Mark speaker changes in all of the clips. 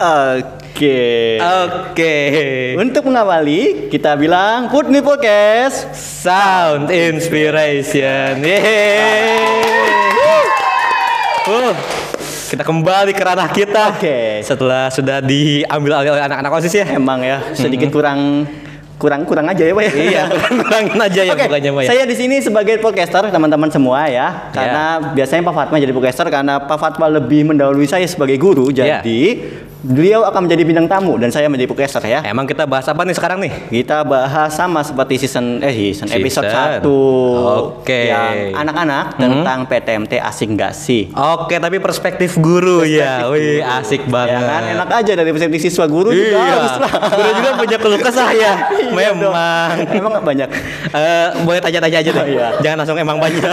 Speaker 1: Oke.
Speaker 2: Oke.
Speaker 1: Untuk mengawali, kita bilang Put Me Podcast.
Speaker 2: Sound Inspiration. Yeay. Uh, kita kembali ke ranah kita.
Speaker 1: Oke.
Speaker 2: Setelah sudah diambil alih oleh anak-anak OSIS ya.
Speaker 1: Emang ya sedikit kurang kurang kurang aja ya, Pak ya.
Speaker 2: iya, kurangin aja ya
Speaker 1: Oke,
Speaker 2: bukannya Mbak ya.
Speaker 1: saya di sini sebagai podcaster teman-teman semua ya, karena
Speaker 2: Iya.
Speaker 1: biasanya Pak Fatma jadi podcaster karena Pak Fatma lebih mendahului saya sebagai guru,
Speaker 2: Ya.
Speaker 1: jadi beliau akan menjadi bintang tamu dan saya menjadi podcaster ya.
Speaker 2: Emang kita bahas apa nih sekarang nih?
Speaker 1: Kita bahas sama seperti season eh season episode
Speaker 2: Season.
Speaker 1: 1
Speaker 2: Oke. Mm-hmm.
Speaker 1: yang anak-anak tentang PTMT asing gak sih?
Speaker 2: Oke, tapi perspektif guru ya. Wih, asik banget.
Speaker 1: Ya kan enak aja dari perspektif siswa guru juga
Speaker 2: iya.
Speaker 1: harus lah.
Speaker 2: Guru juga punya keluh kesah ya.
Speaker 1: Iya dong.
Speaker 2: Memang.
Speaker 1: Emang nggak banyak.
Speaker 2: Eh, boleh tanya-tanya aja deh.
Speaker 1: Oh, iya.
Speaker 2: Jangan langsung emang banyak.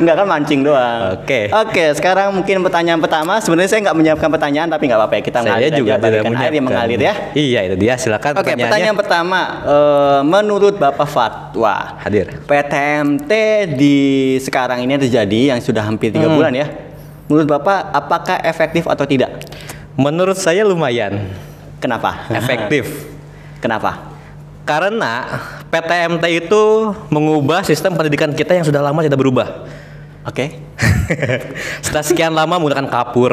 Speaker 1: Enggak kan mancing doang.
Speaker 2: Oke.
Speaker 1: Oke, sekarang mungkin pertanyaan pertama. Sebenarnya saya nggak menyiapkan pertanyaan, tapi nggak apa-apa ya kita
Speaker 2: Saya
Speaker 1: ngalir
Speaker 2: juga
Speaker 1: aja,
Speaker 2: tidak
Speaker 1: bagaikan air yang
Speaker 2: menyiapkan.
Speaker 1: mengalir ya.
Speaker 2: Iya, itu dia. Silakan
Speaker 1: Oke, pertanyaan
Speaker 2: pertanyaannya.
Speaker 1: pertama. Eh, menurut Bapak Fatwa,
Speaker 2: Hadir.
Speaker 1: PTMT di sekarang ini terjadi yang sudah hampir tiga
Speaker 2: Hmm.
Speaker 1: bulan ya. Menurut Bapak, apakah efektif atau tidak?
Speaker 2: Menurut saya lumayan
Speaker 1: Kenapa?
Speaker 2: efektif.
Speaker 1: Kenapa?
Speaker 2: Karena PTMT itu mengubah sistem pendidikan kita yang sudah lama tidak berubah.
Speaker 1: Oke.
Speaker 2: Setelah sekian lama menggunakan kapur,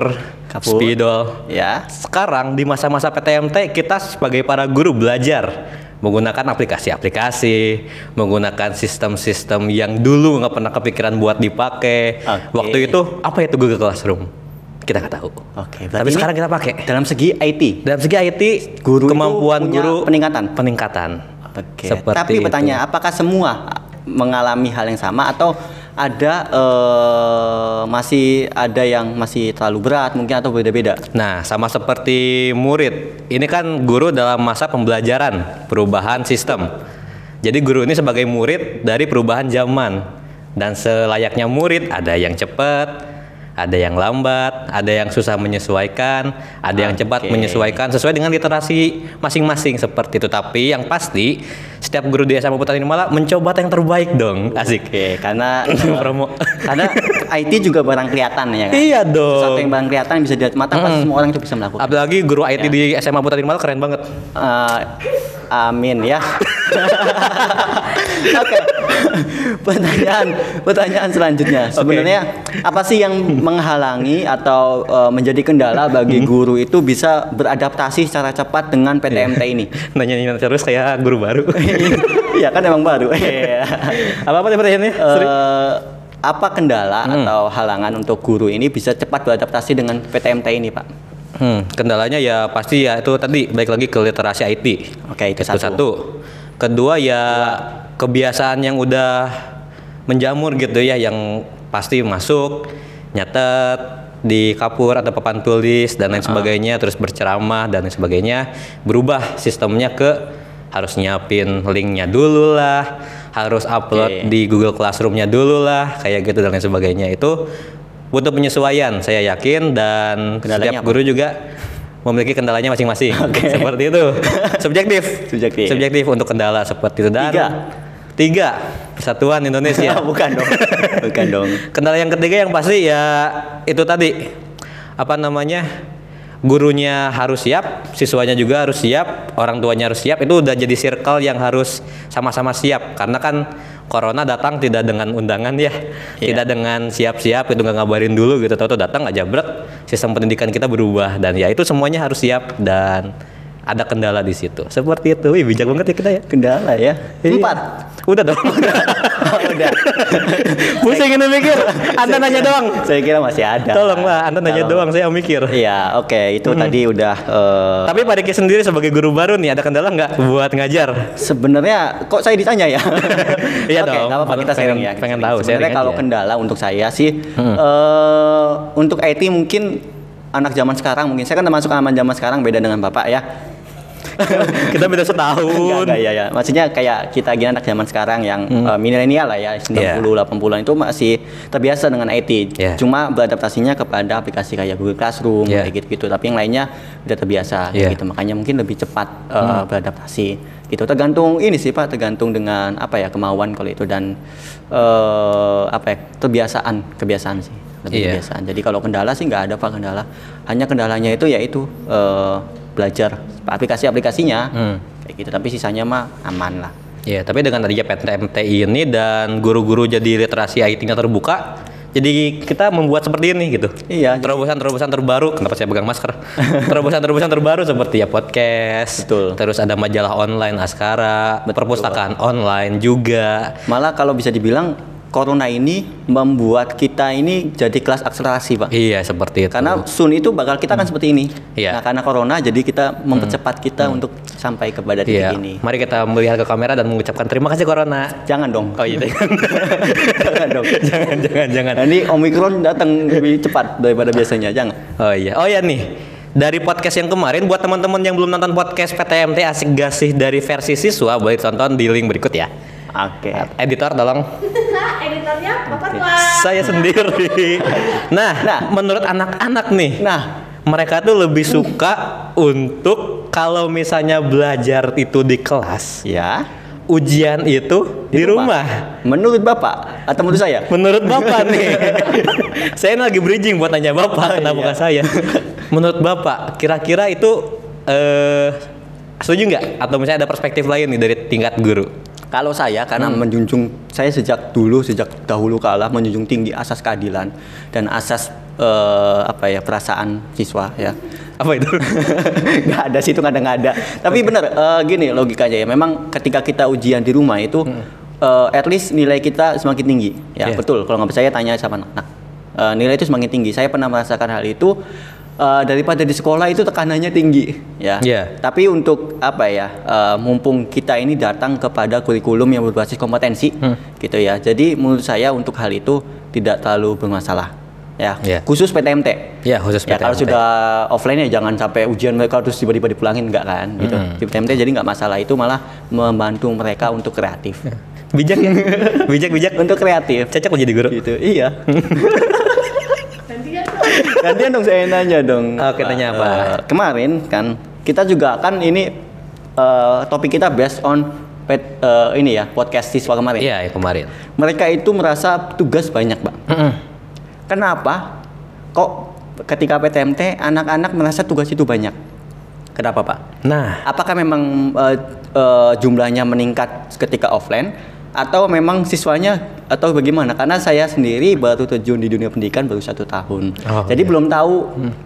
Speaker 1: Kapur.
Speaker 2: spidol.
Speaker 1: Ya.
Speaker 2: Sekarang di masa-masa PTMT kita sebagai para guru belajar menggunakan aplikasi-aplikasi, menggunakan sistem-sistem yang dulu nggak pernah kepikiran buat dipakai.
Speaker 1: Oke.
Speaker 2: Waktu itu apa itu Google Classroom? Kita nggak tahu.
Speaker 1: Oke, berarti
Speaker 2: Tapi
Speaker 1: ini
Speaker 2: sekarang kita pakai.
Speaker 1: Dalam segi IT.
Speaker 2: Dalam segi IT,
Speaker 1: Guru itu
Speaker 2: kemampuan
Speaker 1: punya
Speaker 2: guru
Speaker 1: peningkatan?
Speaker 2: Peningkatan.
Speaker 1: Oke.
Speaker 2: Seperti
Speaker 1: Tapi
Speaker 2: itu.
Speaker 1: bertanya, apakah semua mengalami hal yang sama atau ada eh, masih ada yang masih terlalu berat mungkin atau beda-beda?
Speaker 2: Nah, sama seperti murid, ini kan guru dalam masa pembelajaran, perubahan sistem. Jadi guru ini sebagai murid dari perubahan zaman. Dan selayaknya murid, ada yang cepat, ada yang lambat, ada yang susah menyesuaikan, ada yang cepat
Speaker 1: Oke.
Speaker 2: menyesuaikan sesuai dengan literasi masing-masing seperti itu. Tapi yang pasti, setiap guru di SMA Putaran Malah mencoba yang terbaik dong. Asik.
Speaker 1: Oke, karena
Speaker 2: Promo.
Speaker 1: karena IT juga barang kelihatan ya kan.
Speaker 2: Iya
Speaker 1: Sesuatu yang
Speaker 2: dong.
Speaker 1: barang kelihatan bisa dilihat mata pasti semua orang itu bisa melakukan.
Speaker 2: Apalagi guru IT di SMA Putaran Malah keren banget.
Speaker 1: Eh, amin ya. Oke. Pertanyaan pertanyaan selanjutnya. Sebenarnya apa sih yang menghalangi atau eh, menjadi kendala bagi guru itu bisa beradaptasi secara cepat dengan PTMT ini?
Speaker 2: Nanya-nanya terus kayak guru baru.
Speaker 1: Iya kan emang baru. Iya.
Speaker 2: apa apa pertanyaannya? Sorry.
Speaker 1: Eh, apa kendala atau halangan untuk guru ini bisa cepat beradaptasi dengan PTMT ini, Pak?
Speaker 2: Hmm, kendalanya ya pasti ya itu tadi baik lagi ke literasi IT.
Speaker 1: Oke, itu
Speaker 2: Itu satu.
Speaker 1: satu.
Speaker 2: Kedua ya kebiasaan yang udah menjamur gitu ya yang pasti masuk nyatet di kapur atau papan tulis dan lain sebagainya terus berceramah dan lain sebagainya berubah sistemnya ke harus nyiapin linknya dulu lah harus upload di Google Classroomnya dulu lah kayak gitu dan lain sebagainya itu butuh penyesuaian saya yakin dan
Speaker 1: Kendalanya
Speaker 2: setiap guru juga memiliki kendalanya masing-masing. Seperti itu. Subjektif.
Speaker 1: Subjektif.
Speaker 2: Subjektif untuk kendala seperti itu dan
Speaker 1: Tiga.
Speaker 2: tiga Persatuan Indonesia.
Speaker 1: Bukan dong. Iya. Bukan dong.
Speaker 2: kendala yang ketiga yang pasti ya itu tadi apa namanya? Gurunya harus siap, siswanya juga harus siap, orang tuanya harus siap. Itu udah jadi circle yang harus sama-sama siap karena kan corona datang tidak dengan undangan ya.
Speaker 1: Iya.
Speaker 2: Tidak dengan siap-siap itu nggak ngabarin dulu gitu. Tahu-tahu datang aja berat. Sistem pendidikan kita berubah dan ya itu semuanya harus siap dan ada kendala di situ. Seperti itu. Wih, bijak banget ya kita ya.
Speaker 1: Kendala ya. Empat.
Speaker 2: Iya. Udah dong.
Speaker 1: Oh, Udah.
Speaker 2: Pusing ini mikir. Anda nanya doang.
Speaker 1: Saya kira masih ada.
Speaker 2: Tolong lah, Hmm. Anda nanya
Speaker 1: Tolong.
Speaker 2: doang, saya yang mikir.
Speaker 1: Ya. Iya, oke. itu tadi udah. eh,
Speaker 2: Tapi Pak Diki sendiri sebagai guru baru nih, ada kendala nggak buat ngajar?
Speaker 1: Sebenarnya kok saya ditanya ya?
Speaker 2: Iya
Speaker 1: Oke,
Speaker 2: dong.
Speaker 1: nggak apa-apa kita
Speaker 2: Pengen-
Speaker 1: sharing ya. kita
Speaker 2: pengen
Speaker 1: sharing.
Speaker 2: tahu,
Speaker 1: Sebenarnya
Speaker 2: sharing
Speaker 1: kalau
Speaker 2: aja. Hmm.
Speaker 1: kendala untuk saya sih, eh untuk IT mungkin anak zaman sekarang mungkin saya kan termasuk aman zaman sekarang beda dengan bapak ya.
Speaker 2: Kita beda
Speaker 1: Enggak,
Speaker 2: setahun.
Speaker 1: enggak, ya, ya. Maksudnya kayak kita gini anak zaman sekarang yang eh, milenial lah ya, 90
Speaker 2: Hmm. Iya.
Speaker 1: 80-an itu masih terbiasa dengan IT.
Speaker 2: Iya.
Speaker 1: Cuma beradaptasinya kepada aplikasi kayak Google Classroom
Speaker 2: Iya.
Speaker 1: kayak gitu-gitu. Tapi yang lainnya udah terbiasa kayak
Speaker 2: Iya. Hmm.
Speaker 1: gitu. Makanya mungkin lebih cepat eh, beradaptasi. Gitu. Tergantung ini sih Pak, tergantung dengan apa ya kemauan kalau itu dan eh apa ya kebiasaan, kebiasaan sih. kebiasaan. Jadi kalau kendala sih nggak ada pak kendala. Hanya kendalanya itu yaitu eh, belajar aplikasi-aplikasinya kayak gitu. Tapi sisanya mah aman lah.
Speaker 2: Ya, tapi dengan adanya PTMT ini dan guru-guru jadi literasi IT-nya terbuka, jadi kita membuat seperti ini gitu.
Speaker 1: Iya,
Speaker 2: Terobosan-terobosan terbaru, kenapa saya pegang masker? Terobosan-terobosan terbaru seperti ya podcast,
Speaker 1: Betul.
Speaker 2: terus ada majalah online Askara,
Speaker 1: Betul.
Speaker 2: perpustakaan online juga.
Speaker 1: Malah kalau bisa dibilang corona ini membuat kita ini jadi kelas akselerasi pak.
Speaker 2: Iya, seperti itu.
Speaker 1: Karena Sun itu bakal kita kan seperti ini.
Speaker 2: Iya.
Speaker 1: Nah, karena corona jadi kita mempercepat kita untuk sampai kepada titik
Speaker 2: Iya.
Speaker 1: ini.
Speaker 2: Mari kita melihat ke kamera dan mengucapkan terima kasih Corona.
Speaker 1: Jangan dong.
Speaker 2: Oh iya.
Speaker 1: jangan dong.
Speaker 2: jangan jangan jangan.
Speaker 1: Nanti Omikron datang lebih cepat daripada biasanya. Jangan.
Speaker 2: Oh iya, oh iya nih. Dari podcast yang kemarin buat teman-teman yang belum nonton podcast PTMT Asik Gasih dari versi siswa boleh tonton di link berikut ya.
Speaker 1: Oke.
Speaker 2: Editor tolong
Speaker 3: editornya Bapak Tuan.
Speaker 2: saya sendiri. Nah,
Speaker 1: Nah.
Speaker 2: menurut anak-anak nih,
Speaker 1: Nah,
Speaker 2: mereka tuh lebih suka untuk kalau misalnya belajar itu di kelas,
Speaker 1: ya.
Speaker 2: ujian itu di, rumah.
Speaker 1: Menurut Bapak atau menurut saya?
Speaker 2: Menurut Bapak nih. Oh, iya. saya ini lagi bridging buat nanya Bapak kenapa bukan saya. Menurut Bapak, kira-kira itu eh setuju nggak atau misalnya ada perspektif lain nih dari tingkat guru?
Speaker 1: Kalau saya karena menjunjung saya sejak dulu sejak dahulu kala menjunjung tinggi asas keadilan dan asas eh, apa ya perasaan siswa ya.
Speaker 2: Apa itu?
Speaker 1: nggak ada sih itu kadang nggak ada. Tapi bener eh, gini logikanya ya. Memang ketika kita ujian di rumah itu eh, at least nilai kita semakin tinggi. Ya
Speaker 2: Hmm. Iya.
Speaker 1: betul. Kalau nggak percaya tanya sama anak. Eh, nilai itu semakin tinggi. Saya pernah merasakan hal itu eh, daripada di sekolah itu tekanannya tinggi ya.
Speaker 2: Iya.
Speaker 1: Tapi untuk apa ya, eh, mumpung kita ini datang kepada kurikulum yang berbasis kompetensi,
Speaker 2: Hmm.
Speaker 1: gitu ya. Jadi menurut saya untuk hal itu tidak terlalu bermasalah, ya.
Speaker 2: Iya.
Speaker 1: Khusus PTMT.
Speaker 2: Ya, khusus
Speaker 1: Ya kalau
Speaker 2: PTMT.
Speaker 1: sudah offline ya jangan sampai ujian mereka terus tiba-tiba dipulangin enggak kan, gitu. Di PTMT jadi nggak masalah itu malah membantu mereka untuk kreatif,
Speaker 2: Bijak ya. Bijak-bijak.
Speaker 1: untuk kreatif.
Speaker 2: Cocok lo jadi guru.
Speaker 1: Gitu, iya.
Speaker 3: Nanti kan tuh.
Speaker 1: Gantian dong saya nanya dong.
Speaker 2: Oke, tanya apa?
Speaker 1: Eh, kemarin kan kita juga kan ini eh, topik kita based on pet- eh, ini ya podcast siswa kemarin.
Speaker 2: Iya, yang kemarin.
Speaker 1: Mereka itu merasa tugas banyak, Pak. Kenapa? Kok ketika PTMT anak-anak merasa tugas itu banyak? Kenapa, Pak?
Speaker 2: Nah,
Speaker 1: Apakah memang eh, eh, jumlahnya meningkat ketika offline atau memang siswanya atau bagaimana? Karena saya sendiri baru terjun di dunia pendidikan baru satu tahun,
Speaker 2: Oh,
Speaker 1: jadi
Speaker 2: iya.
Speaker 1: belum tahu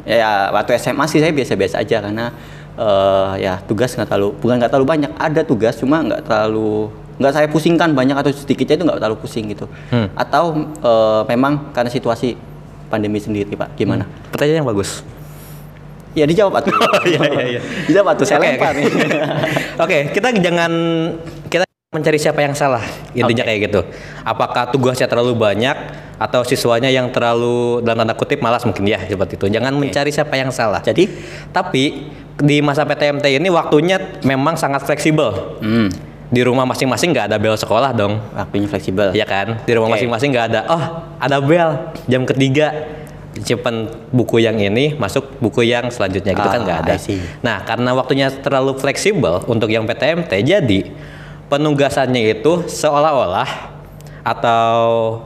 Speaker 1: ya waktu SMA sih saya biasa-biasa aja karena eh, ya tugas nggak terlalu bukan nggak terlalu banyak ada tugas cuma nggak terlalu nggak saya pusingkan banyak atau sedikitnya itu nggak terlalu pusing gitu
Speaker 2: Hmm.
Speaker 1: atau eh, memang karena situasi pandemi sendiri pak gimana?
Speaker 2: Hmm. pertanyaan yang bagus.
Speaker 1: Ya dijawab atuh.
Speaker 2: iya, iya, iya.
Speaker 1: dijawab atuh. Saya
Speaker 2: Oke,
Speaker 1: lempar
Speaker 2: oke.
Speaker 1: nih.
Speaker 2: Oke, kita jangan kita mencari siapa yang salah. Intinya kayak gitu. Apakah tugasnya terlalu banyak atau siswanya yang terlalu dalam tanda kutip malas mungkin ya seperti itu. Jangan mencari siapa yang salah.
Speaker 1: Jadi?
Speaker 2: tapi di masa PTMT ini waktunya memang sangat fleksibel.
Speaker 1: Hmm.
Speaker 2: Di rumah masing-masing nggak ada bel sekolah dong.
Speaker 1: Waktunya fleksibel.
Speaker 2: Iya kan? Di rumah
Speaker 1: Oke.
Speaker 2: masing-masing nggak ada. Oh, ada bel jam ketiga. Simpen buku yang ini, masuk buku yang selanjutnya gitu
Speaker 1: Ah,
Speaker 2: kan nggak ada.
Speaker 1: I see.
Speaker 2: Nah, karena waktunya terlalu fleksibel untuk yang PTMT, jadi penugasannya itu seolah-olah atau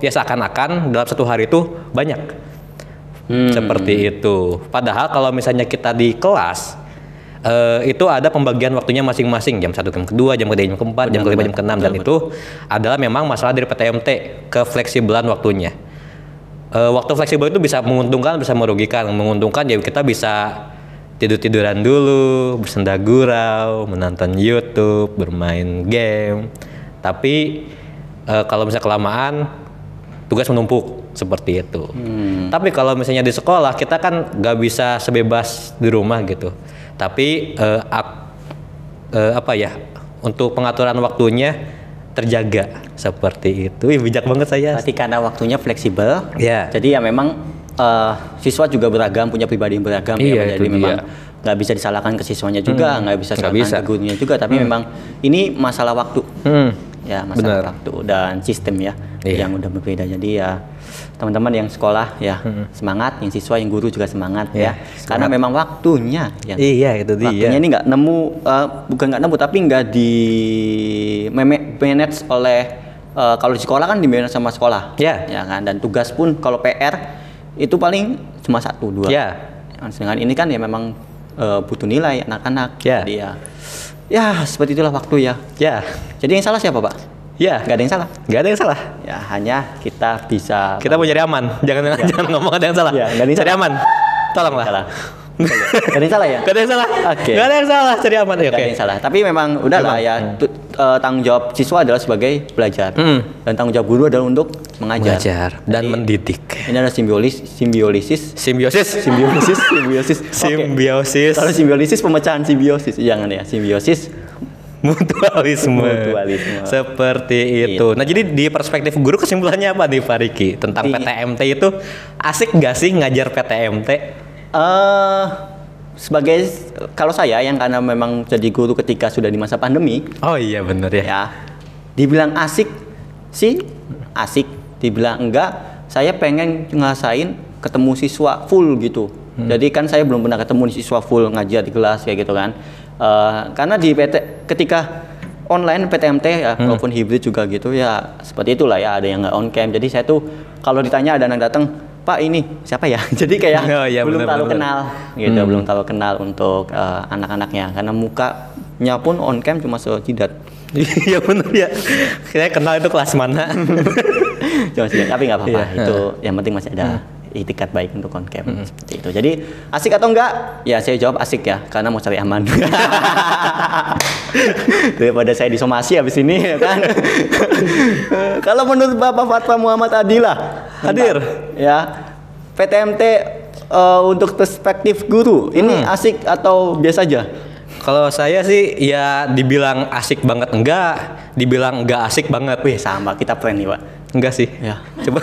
Speaker 2: ya seakan-akan dalam satu hari itu banyak.
Speaker 1: Hmm.
Speaker 2: Seperti itu. Padahal kalau misalnya kita di kelas eh, itu ada pembagian waktunya masing-masing jam satu jam kedua jam ketiga jam keempat jam kelima jam keenam dan itu adalah memang masalah dari PTMT kefleksibelan waktunya Eh, waktu fleksibel itu bisa menguntungkan bisa merugikan menguntungkan ya kita bisa tidur tiduran dulu bersenda gurau menonton YouTube bermain game tapi eh, kalau misalnya kelamaan tugas menumpuk seperti itu.
Speaker 1: Hmm.
Speaker 2: Tapi kalau misalnya di sekolah kita kan nggak bisa sebebas di rumah gitu. Tapi eh, ak- eh, apa ya untuk pengaturan waktunya terjaga seperti itu. Ih, bijak banget saya.
Speaker 1: Berarti karena waktunya fleksibel,
Speaker 2: Iya.
Speaker 1: jadi ya memang eh, siswa juga beragam, punya pribadi yang beragam ya,
Speaker 2: Iya,
Speaker 1: Pak. jadi
Speaker 2: itu
Speaker 1: memang
Speaker 2: dia. Hmm.
Speaker 1: nggak bisa disalahkan ke siswanya juga, nggak bisa
Speaker 2: nggak
Speaker 1: disalahkan
Speaker 2: bisa.
Speaker 1: ke gurunya juga, tapi memang ini masalah waktu,
Speaker 2: Hmm.
Speaker 1: ya masalah
Speaker 2: Benar.
Speaker 1: waktu dan sistem ya
Speaker 2: Iya.
Speaker 1: yang udah berbeda. Jadi ya teman-teman yang sekolah ya semangat, yang siswa, yang guru juga semangat
Speaker 2: Hmm. Iya,
Speaker 1: ya, karena memang waktunya yang
Speaker 2: Iya itu dia.
Speaker 1: Waktunya ini nggak nemu, eh, bukan nggak nemu tapi nggak di meme- manage oleh eh, kalau di sekolah kan di manage sama sekolah,
Speaker 2: Ya.
Speaker 1: ya kan. Dan tugas pun kalau PR itu paling cuma satu dua.
Speaker 2: Ya.
Speaker 1: Dengan ini kan ya memang eh, butuh nilai anak-anak.
Speaker 2: Ya.
Speaker 1: Jadi ya, ya seperti itulah waktu ya.
Speaker 2: Ya.
Speaker 1: Jadi yang salah siapa pak?
Speaker 2: Ya.
Speaker 1: Gak ada yang salah.
Speaker 2: Gak ada yang salah.
Speaker 1: Ya hanya kita bisa.
Speaker 2: Kita mau cari aman. Jangan jangan ngomong ada yang salah.
Speaker 1: Ya, nggak ada yang
Speaker 2: cari
Speaker 1: salah.
Speaker 2: aman. Tolonglah.
Speaker 1: Salah. Gak ada yang salah ya.
Speaker 2: Gak ada yang salah.
Speaker 1: Oke.
Speaker 2: Gak ada yang salah. Cari aman. Ya,
Speaker 1: Gak
Speaker 2: Oke.
Speaker 1: ada yang salah. Tapi memang udahlah ya tu- eh, tanggung jawab siswa adalah sebagai belajar
Speaker 2: Hmm.
Speaker 1: dan tanggung jawab guru adalah untuk mengajar.
Speaker 2: Belajar dan
Speaker 1: Jadi,
Speaker 2: mendidik.
Speaker 1: Ini ada simbiolis, simbiolisis,
Speaker 2: Simbiosis.
Speaker 1: simbiosis, simbiosis. Oke.
Speaker 2: Simbiosis.
Speaker 1: Kalau simbiolis pemecahan simbiosis, jangan ya simbiosis.
Speaker 2: mutualisme.
Speaker 1: Mutualisme.
Speaker 2: Seperti itu. Nah, jadi di perspektif guru kesimpulannya apa nih Pak Riki tentang
Speaker 1: Di-
Speaker 2: PTMT itu asik gak sih ngajar PTMT?
Speaker 1: Eh sebagai kalau saya yang karena memang jadi guru ketika sudah di masa pandemi
Speaker 2: Oh iya bener ya.
Speaker 1: ya, dibilang asik sih asik, dibilang enggak, saya pengen ngerasain ketemu siswa full gitu.
Speaker 2: Hmm.
Speaker 1: Jadi kan saya belum pernah ketemu siswa full ngajar di kelas kayak gitu kan. Eh, karena di PT ketika online PTMT ya
Speaker 2: Hmm.
Speaker 1: walaupun hibrid juga gitu ya seperti itulah ya ada yang nggak on cam. Jadi saya tuh kalau ditanya ada anak datang Pak ini siapa ya? Jadi kayak
Speaker 2: Oh, iya,
Speaker 1: belum
Speaker 2: bener,
Speaker 1: terlalu
Speaker 2: bener.
Speaker 1: kenal gitu,
Speaker 2: Hmm.
Speaker 1: belum terlalu kenal untuk eh, anak-anaknya karena mukanya pun on cam cuma secidat.
Speaker 2: Iya bener ya. Saya kenal itu kelas mana.
Speaker 1: Jangan sedih, tapi nggak apa-apa.
Speaker 2: Iya.
Speaker 1: Itu yang penting masih ada itikat baik untuk koncam seperti itu. Jadi asik atau enggak? Ya saya jawab asik ya, karena mau cari aman. Daripada saya disomasi habis ini ya kan. Kalau menurut Bapak Fatwa Muhammad Adila,
Speaker 2: Hadir.
Speaker 1: ya PTMT eh, untuk perspektif guru ini asik atau biasa aja?
Speaker 2: Kalau saya sih ya dibilang asik banget enggak, dibilang enggak asik banget.
Speaker 1: Wih sama kita plan nih pak.
Speaker 2: Enggak sih.
Speaker 1: Ya.
Speaker 2: Coba.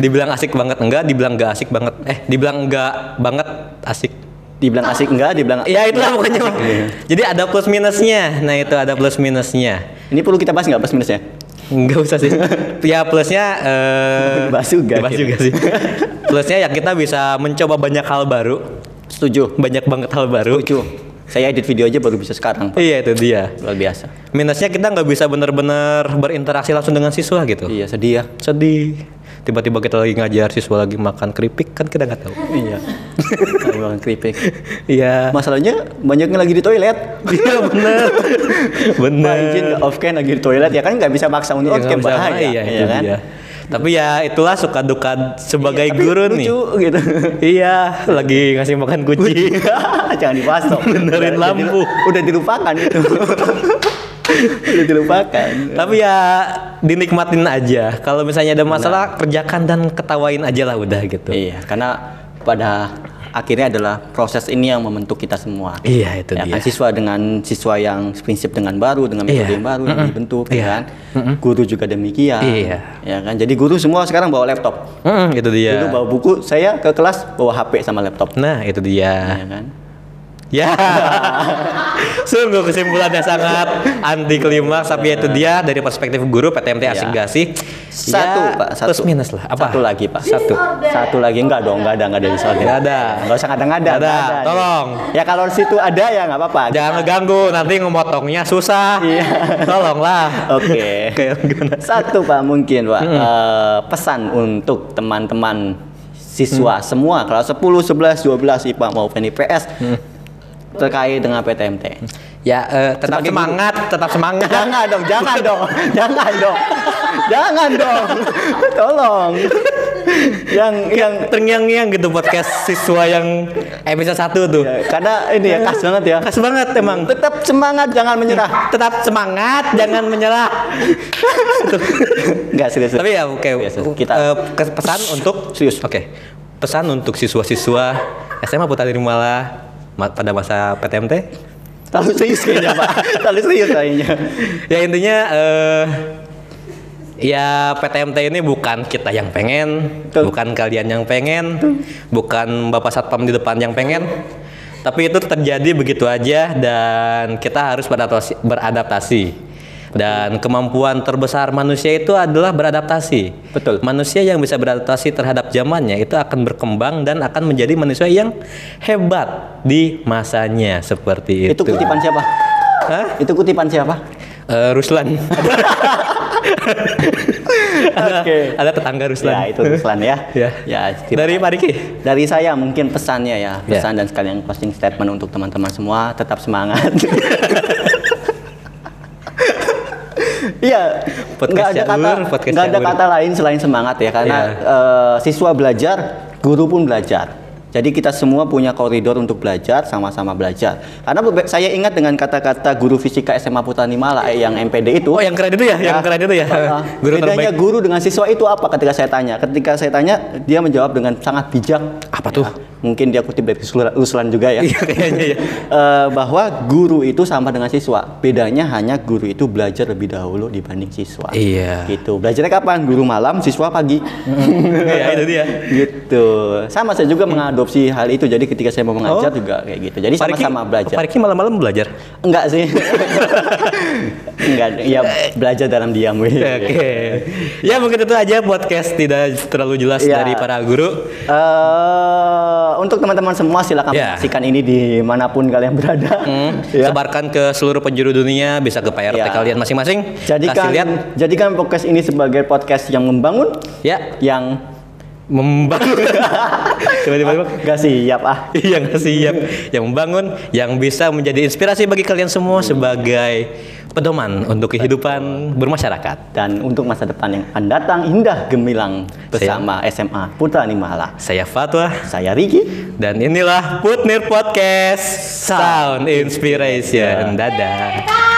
Speaker 2: dibilang asik banget enggak, dibilang enggak asik banget. Eh, dibilang enggak banget asik.
Speaker 1: Dibilang asik enggak? Dibilang
Speaker 2: Ya itulah pokoknya. Bang. Jadi ada plus minusnya. Nah itu ada plus minusnya.
Speaker 1: ini perlu kita bahas nggak plus minusnya?
Speaker 2: Enggak usah sih. ya plusnya eh
Speaker 1: Dibahas juga.
Speaker 2: dibahas juga sih. plusnya ya kita bisa mencoba banyak hal baru,
Speaker 1: Setuju.
Speaker 2: banyak banget hal baru.
Speaker 1: Lucu. Saya edit video aja baru bisa sekarang. Pak.
Speaker 2: Iya itu dia.
Speaker 1: Luar biasa.
Speaker 2: Minusnya kita nggak bisa benar-benar berinteraksi langsung dengan siswa gitu.
Speaker 1: Iya sedih ya.
Speaker 2: Sedih. Tiba-tiba kita lagi ngajar siswa lagi makan keripik kan kita nggak tahu.
Speaker 1: Iya. Bang keripik.
Speaker 2: Iya.
Speaker 1: Masalahnya banyaknya lagi di toilet.
Speaker 2: Iya bener.
Speaker 1: Pak
Speaker 2: bener.
Speaker 1: izin nggak off cam lagi di toilet ya kan nggak bisa maksa untuk
Speaker 2: Ya,
Speaker 1: off
Speaker 2: Nah. nggak
Speaker 1: cam
Speaker 2: bisa
Speaker 1: bahaya.
Speaker 2: bahaya, itu
Speaker 1: kan? Iya,
Speaker 2: dia. Tapi ya itulah suka duka sebagai
Speaker 1: Tapi
Speaker 2: guru
Speaker 1: lucu,
Speaker 2: nih.
Speaker 1: gitu.
Speaker 2: Iya, lagi ngasih makan kucing.
Speaker 1: Jangan dibahas dong.
Speaker 2: Benerin
Speaker 1: Udah-
Speaker 2: lampu.
Speaker 1: Udah dilupakan itu. udah dilupakan.
Speaker 2: Tapi ya dinikmatin aja. Kalau misalnya ada masalah kerjakan dan ketawain aja lah udah gitu.
Speaker 1: Iya, karena pada akhirnya adalah proses ini yang membentuk kita semua.
Speaker 2: Iya, itu
Speaker 1: ya,
Speaker 2: dia.
Speaker 1: Kan, siswa dengan siswa yang prinsip dengan baru, dengan metode
Speaker 2: Iya.
Speaker 1: yang baru yang dibentuk, ya
Speaker 2: Iya.
Speaker 1: kan. Guru juga demikian.
Speaker 2: Iya.
Speaker 1: Ya kan. Jadi guru semua sekarang bawa laptop.
Speaker 2: Mm, itu dia.
Speaker 1: Dulu bawa buku, saya ke kelas bawa HP sama laptop.
Speaker 2: Nah, itu dia.
Speaker 1: Ya kan.
Speaker 2: Ya. Sungguh kesimpulannya sangat anti klimaks tapi ya itu dia dari perspektif guru PTMT asik
Speaker 1: Iya.
Speaker 2: gak sih?
Speaker 1: Satu,
Speaker 2: Ya,
Speaker 1: Pak, satu.
Speaker 2: Plus minus lah. Apa?
Speaker 1: Satu lagi, Pak.
Speaker 2: Satu.
Speaker 3: Disorder.
Speaker 1: Satu lagi enggak dong, enggak ada enggak ada disorder.
Speaker 2: Nggak ada.
Speaker 1: Enggak usah ngada-ngada.
Speaker 2: Nggak ada,
Speaker 1: nggak ada.
Speaker 2: tolong.
Speaker 1: Ya kalau di situ ada ya enggak apa-apa.
Speaker 2: Jangan ngeganggu, nanti ngemotongnya susah.
Speaker 1: Iya.
Speaker 2: Tolonglah.
Speaker 1: Oke.
Speaker 2: Kayak gimana?
Speaker 1: Satu Pak mungkin Pak Eh, pesan untuk teman-teman siswa semua kelas 10, 11, 12 IPA maupun IPS terkait dengan PTMT.
Speaker 2: Ya, eh, tetap
Speaker 1: Sebagai guru.
Speaker 2: semangat, tetap semangat.
Speaker 1: Jangan dong, jangan dong, jangan dong, jangan dong, tolong. Yang yang
Speaker 2: terngiang-ngiang gitu podcast siswa yang episode 1 tuh.
Speaker 1: ya, karena ini ya khas banget ya.
Speaker 2: Khas Iya. banget emang.
Speaker 1: Tetap semangat, jangan menyerah.
Speaker 2: Tetap semangat, jangan menyerah.
Speaker 1: Enggak serius.
Speaker 2: Tapi ya oke,
Speaker 1: Biasa,
Speaker 2: kita
Speaker 1: kita-
Speaker 2: pesan untuk
Speaker 1: Serius.
Speaker 2: Oke. Pesan untuk siswa-siswa SMA Putari Rimala ma- pada masa PTMT.
Speaker 1: terlalu serius kayaknya Pak. Terlalu serius kayaknya.
Speaker 2: Ya intinya eh ya PTMT ini bukan kita yang pengen,
Speaker 1: Betul.
Speaker 2: bukan kalian yang pengen, bukan Bapak Satpam di depan yang pengen. Tapi itu terjadi begitu aja dan kita harus beradaptasi. beradaptasi. Dan kemampuan terbesar manusia itu adalah beradaptasi.
Speaker 1: Betul.
Speaker 2: Manusia yang bisa beradaptasi terhadap zamannya itu akan berkembang dan akan menjadi manusia yang hebat di masanya seperti
Speaker 1: Itu
Speaker 2: itu.
Speaker 1: kutipan siapa?
Speaker 2: Hah?
Speaker 1: Itu kutipan siapa?
Speaker 2: Eh, Ruslan.
Speaker 1: Oke.
Speaker 2: Ada tetangga Ruslan.
Speaker 1: Ya itu Ruslan ya.
Speaker 2: Ya.
Speaker 1: Ya.
Speaker 2: Dari Pak Riki.
Speaker 1: dari saya mungkin pesannya ya
Speaker 2: Ya.
Speaker 1: pesan dan sekalian closing statement untuk teman-teman semua tetap semangat. Iya, nggak
Speaker 2: Podcast
Speaker 1: ada kata
Speaker 2: Caur, podcast
Speaker 1: nggak ada
Speaker 2: Caur.
Speaker 1: kata lain selain semangat ya karena
Speaker 2: Iya.
Speaker 1: eh, siswa belajar, guru pun belajar. Jadi kita semua punya koridor untuk belajar, sama-sama belajar. Karena be- saya ingat dengan kata-kata guru fisika SMA Putanimala eh, yang MPD itu.
Speaker 2: Oh, yang keren itu ya, yang keren itu ya.
Speaker 1: Ah,
Speaker 2: Guru
Speaker 1: bedanya
Speaker 2: terbaik.
Speaker 1: guru dengan siswa itu apa ketika saya tanya? Ketika saya tanya, dia menjawab dengan sangat bijak. Ya,
Speaker 2: Apa tuh?
Speaker 1: Mungkin dia kutip dari Ruslan Ruslan juga ya.
Speaker 2: Iya, kayaknya ya.
Speaker 1: Eh, bahwa guru itu sama dengan siswa. Bedanya hanya guru itu belajar lebih dahulu dibanding siswa.
Speaker 2: Iya.
Speaker 1: Gitu. Belajarnya kapan? Guru malam, siswa pagi.
Speaker 2: Iya, itu dia.
Speaker 1: gitu. Sama saya juga mengadopsi hal itu. Jadi ketika saya mau mengajar
Speaker 2: Oh.
Speaker 1: juga kayak gitu. Jadi
Speaker 2: Pak Riki-
Speaker 1: sama-sama belajar.
Speaker 2: Pak Riki malam-malam belajar.
Speaker 1: Enggak sih. Enggak, ya belajar dalam diam. weh.
Speaker 2: Oke. Ya mungkin itu aja podcast tidak terlalu jelas
Speaker 1: Iya.
Speaker 2: dari para guru.
Speaker 1: eh untuk teman-teman semua silakan
Speaker 2: Ya. Hmm.
Speaker 1: menyaksikan ini dimanapun kalian berada. Ya.
Speaker 2: Sebarkan ke seluruh penjuru dunia, bisa ke PRT
Speaker 1: Ya.
Speaker 2: kalian masing-masing.
Speaker 1: Jadikan
Speaker 2: Kasih lihat.
Speaker 1: jadikan podcast ini sebagai podcast yang membangun,
Speaker 2: Ya,
Speaker 1: yang
Speaker 2: membangun. Tiba-tiba Iya,
Speaker 1: gak siap ah.
Speaker 2: yang siap, ya. yang membangun, yang bisa menjadi inspirasi bagi kalian semua sebagai pedoman untuk kehidupan bermasyarakat.
Speaker 1: Dan untuk masa depan yang akan datang indah gemilang bersama SMA Putra Nimala.
Speaker 2: Saya Fatwa
Speaker 1: Saya Riki.
Speaker 2: dan inilah Putnir Podcast Sound Inspiration. Dadah.
Speaker 3: Bye.